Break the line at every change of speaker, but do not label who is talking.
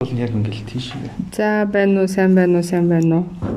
бол нь яг ингээл тийш юм.
За байна уу, сайн байна уу, сайн байна уу?